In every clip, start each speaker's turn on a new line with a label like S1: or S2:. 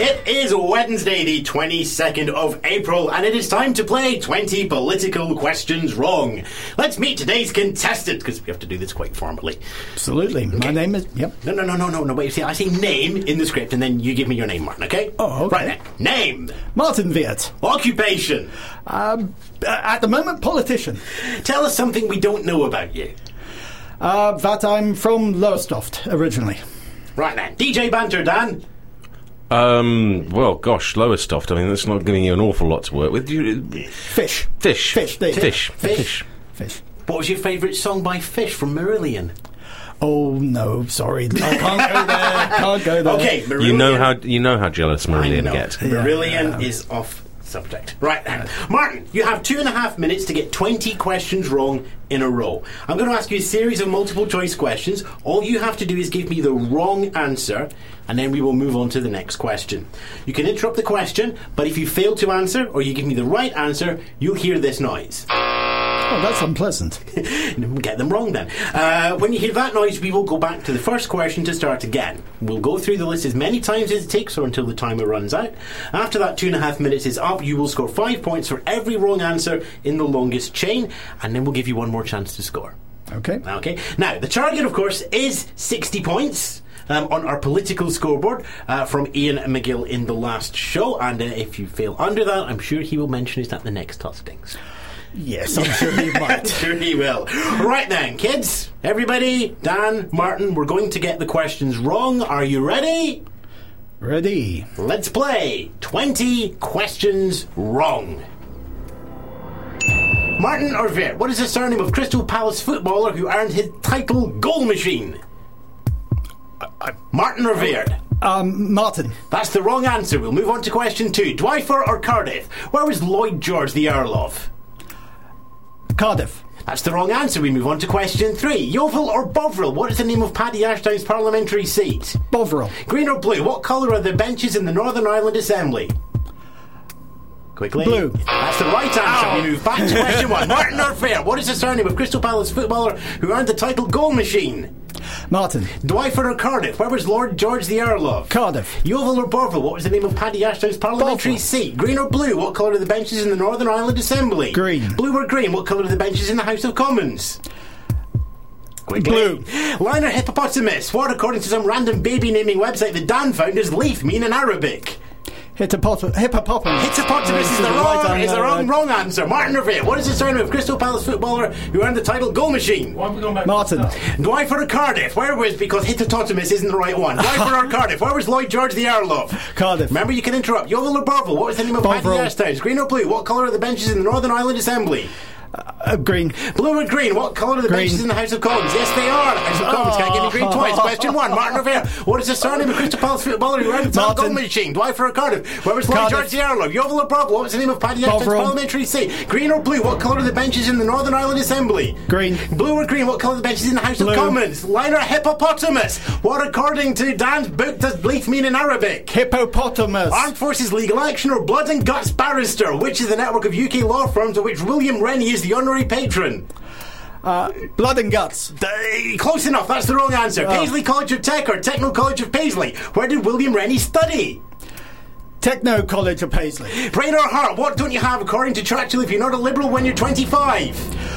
S1: It is Wednesday, the 22nd of April, and it is time to play 20 Political Questions Wrong. Let's meet today's contestant, because we have to do this quite formally.
S2: Absolutely. My name is. Yep.
S1: No, no, no, no, no, no. Wait, see, I say name in the script, and then you give me your name, Martin, okay?
S2: Oh, okay.
S1: Right then. Name,
S2: Martin Viet.
S1: occupation.
S2: Um, uh, at the moment, politician.
S1: Tell us something we don't know about you.
S2: Uh, that I'm from Lowestoft originally.
S1: Right then. DJ Banter, Dan.
S3: Um, well, gosh, Lowestoft. I mean, that's not giving you an awful lot to work with. You,
S2: Fish.
S3: fish.
S2: Fish, there you go.
S3: Fish.
S1: Fish.
S3: Fish.
S2: Fish.
S1: What was your favourite song by Fish from Marillion?
S2: Oh no, sorry, I can't go there. Can't go there.
S1: Okay, Marillion.
S3: You know how you know how jealous
S1: I
S3: Marillion
S1: know.
S3: gets.
S1: Marillion is off subject. Right then. Martin, you have two and a half minutes to get 20 questions wrong in a row. I'm going to ask you a series of multiple choice questions. All you have to do is give me the wrong answer, and then we will move on to the next question. You can interrupt the question, but if you fail to answer or you give me the right answer, you'll hear this noise.
S2: Oh, that's unpleasant.
S1: Get them wrong then. Uh, when you hear that noise, we will go back to the first question to start again. We'll go through the list as many times as it takes or until the timer runs out. After that two and a half minutes is up, you will score five points for every wrong answer in the longest chain, and then we'll give you one more chance to score.
S2: Okay.
S1: Okay. Now, the target, of course, is 60 points. Um, on our political scoreboard uh, from Ian McGill in the last show, and uh, if you fail under that, I'm sure he will mention it at the next hustings.
S2: Yes, I'm sure you might.
S1: Sure he will. Right then, kids, everybody, Dan, Martin, we're going to get the questions wrong. Are you ready?
S2: Ready?
S1: Let's play 20 questions wrong. Martin Orvir, what is the surname of Crystal Palace footballer who earned his title Goal Machine? Martin Revere.
S2: Um, Martin.
S1: That's the wrong answer. We'll move on to question two. Dwyfer or Cardiff? Where was Lloyd George the Earl of?
S2: Cardiff.
S1: That's the wrong answer. We move on to question three. Yeovil or Bovril? What is the name of Paddy Ashdown's parliamentary seat?
S2: Bovril.
S1: Green or blue? What colour are the benches in the Northern Ireland Assembly? Quickly.
S2: Blue.
S1: That's the right answer. We move back to question one. Martin or Fair? What is the surname of Crystal Palace footballer who earned the title Goal Machine?
S2: Martin.
S1: Dwyford or Cardiff? Where was Lord George the Earl of?
S2: Cardiff.
S1: Yeovil or Bovril? What was the name of Paddy Ashton's parliamentary
S2: Bovril.
S1: seat? Green or blue? What colour are the benches in the Northern Ireland Assembly?
S2: Green.
S1: Blue or green? What colour are the benches in the House of Commons? Quickly.
S2: Blue.
S1: Lion or hippopotamus? What, according to some random baby naming website that Dan found, is leaf mean in Arabic?
S2: Hippopot- hippopotamus.
S1: Hippopotamus is the wrong, is the wrong, wrong answer. Martin Revere. What is the surname of Crystal Palace footballer who earned the title Goal Machine?
S2: Martin.
S1: Dwyford or Cardiff? Where was because Hittototamus isn't the right one. Dwyford or Cardiff? Where was Lloyd George the Earl of?
S2: Cardiff.
S1: Remember, you can interrupt. Yeovil or Barville? What was the name of Paddy
S2: Bovril.
S1: Ashton's? Green or blue? What colour are the benches in the Northern Ireland Assembly?
S2: Uh, green.
S1: Blue or green? What colour are the
S2: Green. Oh.
S1: benches in the House of Commons? Yes, they are. The House of Commons can't give me green twice. Question one. Martin Revere. What is the surname of Crystal Palace footballer who ran the top goal
S2: Martin.
S1: machine? Dwyford or Cardiff? Where was Lloyd
S2: Cardiff.
S1: George the Earl of? Yeovil or Barville? What was the name of Paddy Ashton's
S2: Bovril.
S1: parliamentary seat? Green or blue? What colour are the benches in the Northern Ireland Assembly?
S2: Green.
S1: Blue or green? What colour are the benches in the House
S2: Blue.
S1: of Commons? Line or hippopotamus? What, according to Dan's book, does leaf mean in Arabic?
S2: Hippopotamus.
S1: Armed Forces Legal Action or Blood and Guts Barrister, which is the network of UK law firms of which William Rennie is the honorary patron.
S2: Uh, blood and guts.
S1: D- close enough, that's the wrong answer. Paisley College of Tech or Techno College of Paisley. Where did William Rennie study?
S2: Techno College of Paisley.
S1: Brain or heart, what don't you have according to Churchill if you're not a liberal when you're 25?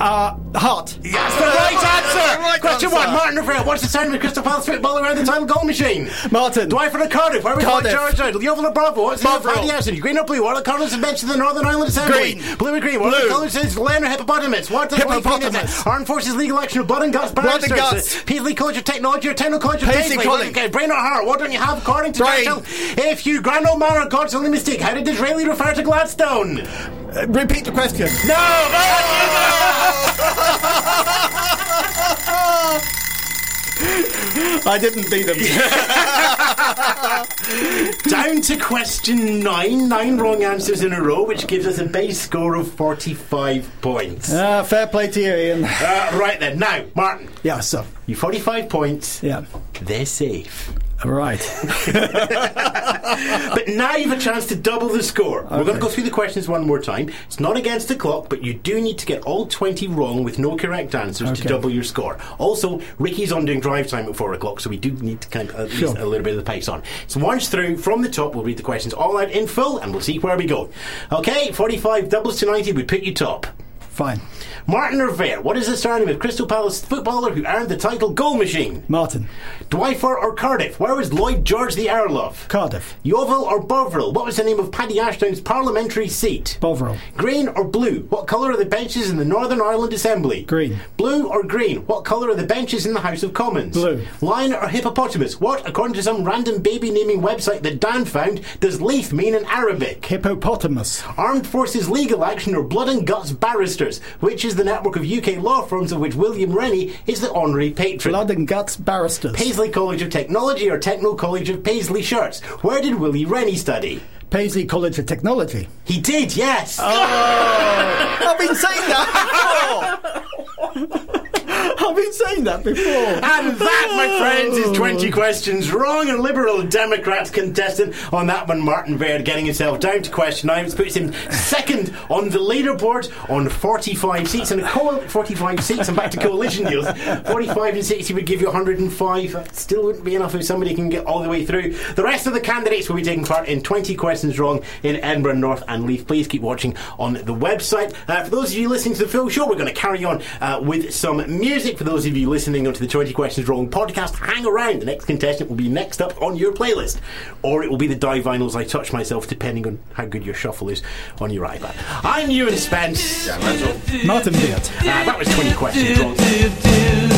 S2: Uh, heart.
S1: That's the right answer!
S2: Right
S1: Question
S2: answer.
S1: one, Martin Revere, what's the sound of Crystal Palace football around the time goal machine?
S2: Martin.
S1: Dwight for the Cardiff, where we got
S2: Cardiff.
S1: George Idle, Yeovil and Bravo, what's the name of
S2: Bovril.
S1: Paddy Ashton? Green or blue, what are the colours of bench in the Northern Ireland Assembly?
S2: Green.
S1: Blue and green, what are the
S2: Blue.
S1: colours of Land or Hippopotamus? What does
S2: Hippopotamus.
S1: Leaf mean in it? Armed Forces Legal Action of Blood and Guts
S2: Blood and
S1: Barristers,
S2: Guts.
S1: uh, Paisley College of Technology or Techno College of
S2: Paisley
S1: Paisley,
S2: College.
S1: Okay, Brain or heart, what don't you have according to
S2: Brain.
S1: Churchill? If you grand old man or God's only mistake, how did Disraeli refer to Gladstone?
S2: Uh, repeat the question.
S1: No!
S2: I didn't beat them.
S1: Down to question nine. Nine wrong answers in a row, which gives us a base score of 45 points. Uh,
S2: uh, fair play to you, Ian.
S1: right then. Now, Martin,
S2: Yeah, so.
S1: you 45 points.
S2: Yeah.
S1: They're safe.
S2: Right.
S1: But now you've a chance to double the score. We're going to go through the questions one more time. It's not against the clock, but you do need to get all 20 wrong with no correct answers to
S2: Okay.
S1: double your score. Also, Ricky's on doing drive time at 4 o'clock, so we do need to kind of at least
S2: Sure.
S1: a little bit of the pace on. So once through, from the top, we'll read the questions all out in full and we'll see where we go. Okay, 45 doubles to 90 would put you top.
S2: Fine.
S1: Martin Revere, what is the surname of Crystal Palace footballer who earned the title Goal Machine?
S2: Martin.
S1: Dwyford or Cardiff, where was Lloyd George the Earl of?
S2: Cardiff.
S1: Yeovil or Bovril? What was the name of Paddy Ashdown's parliamentary seat?
S2: Bovril.
S1: green or blue? What colour are the benches in the Northern Ireland Assembly?
S2: Green.
S1: Blue or green? What colour are the benches in the House of Commons?
S2: Blue.
S1: Lion or hippopotamus? What, according to some random baby naming website that Dan found, does leaf mean in Arabic?
S2: Hippopotamus.
S1: Armed Forces Legal Action or Blood and Guts Barristers, which is the network of UK law firms of which William Rennie is the honorary patron.
S2: Blood and guts barristers.
S1: Paisley College of Technology or Techno College of Paisley Shirts. Where did Willie Rennie study?
S2: Paisley College of Technology.
S1: He did, yes.
S2: Oh. I've been saying that before. I've been saying that before.
S1: And that, my friends, is 20 questions wrong. And Liberal Democrat contestant on that one, Martin Baird, getting himself down to question nine, which puts him second on the leaderboard on 45 seats. And a coal 45 seats, and back to coalition deals. 45 and 60 would give you 105. That still wouldn't be enough if somebody can get all the way through. The rest of the candidates will be taking part in 20 questions wrong in Edinburgh North and Leith. Please keep watching on the website. Uh, for those of you listening to the full show, we're going to carry on uh, with some music. For those of you listening onto the 20 Questions Wrong podcast, hang around. The next contestant will be next up on your playlist. Or it will be the Die Vinyls I Touch Myself, depending on how good your shuffle is on your iPad. I'm Ewan Spence. Uh,
S2: Martin Beard.
S1: that was 20 Questions Wrong.
S4: do, do.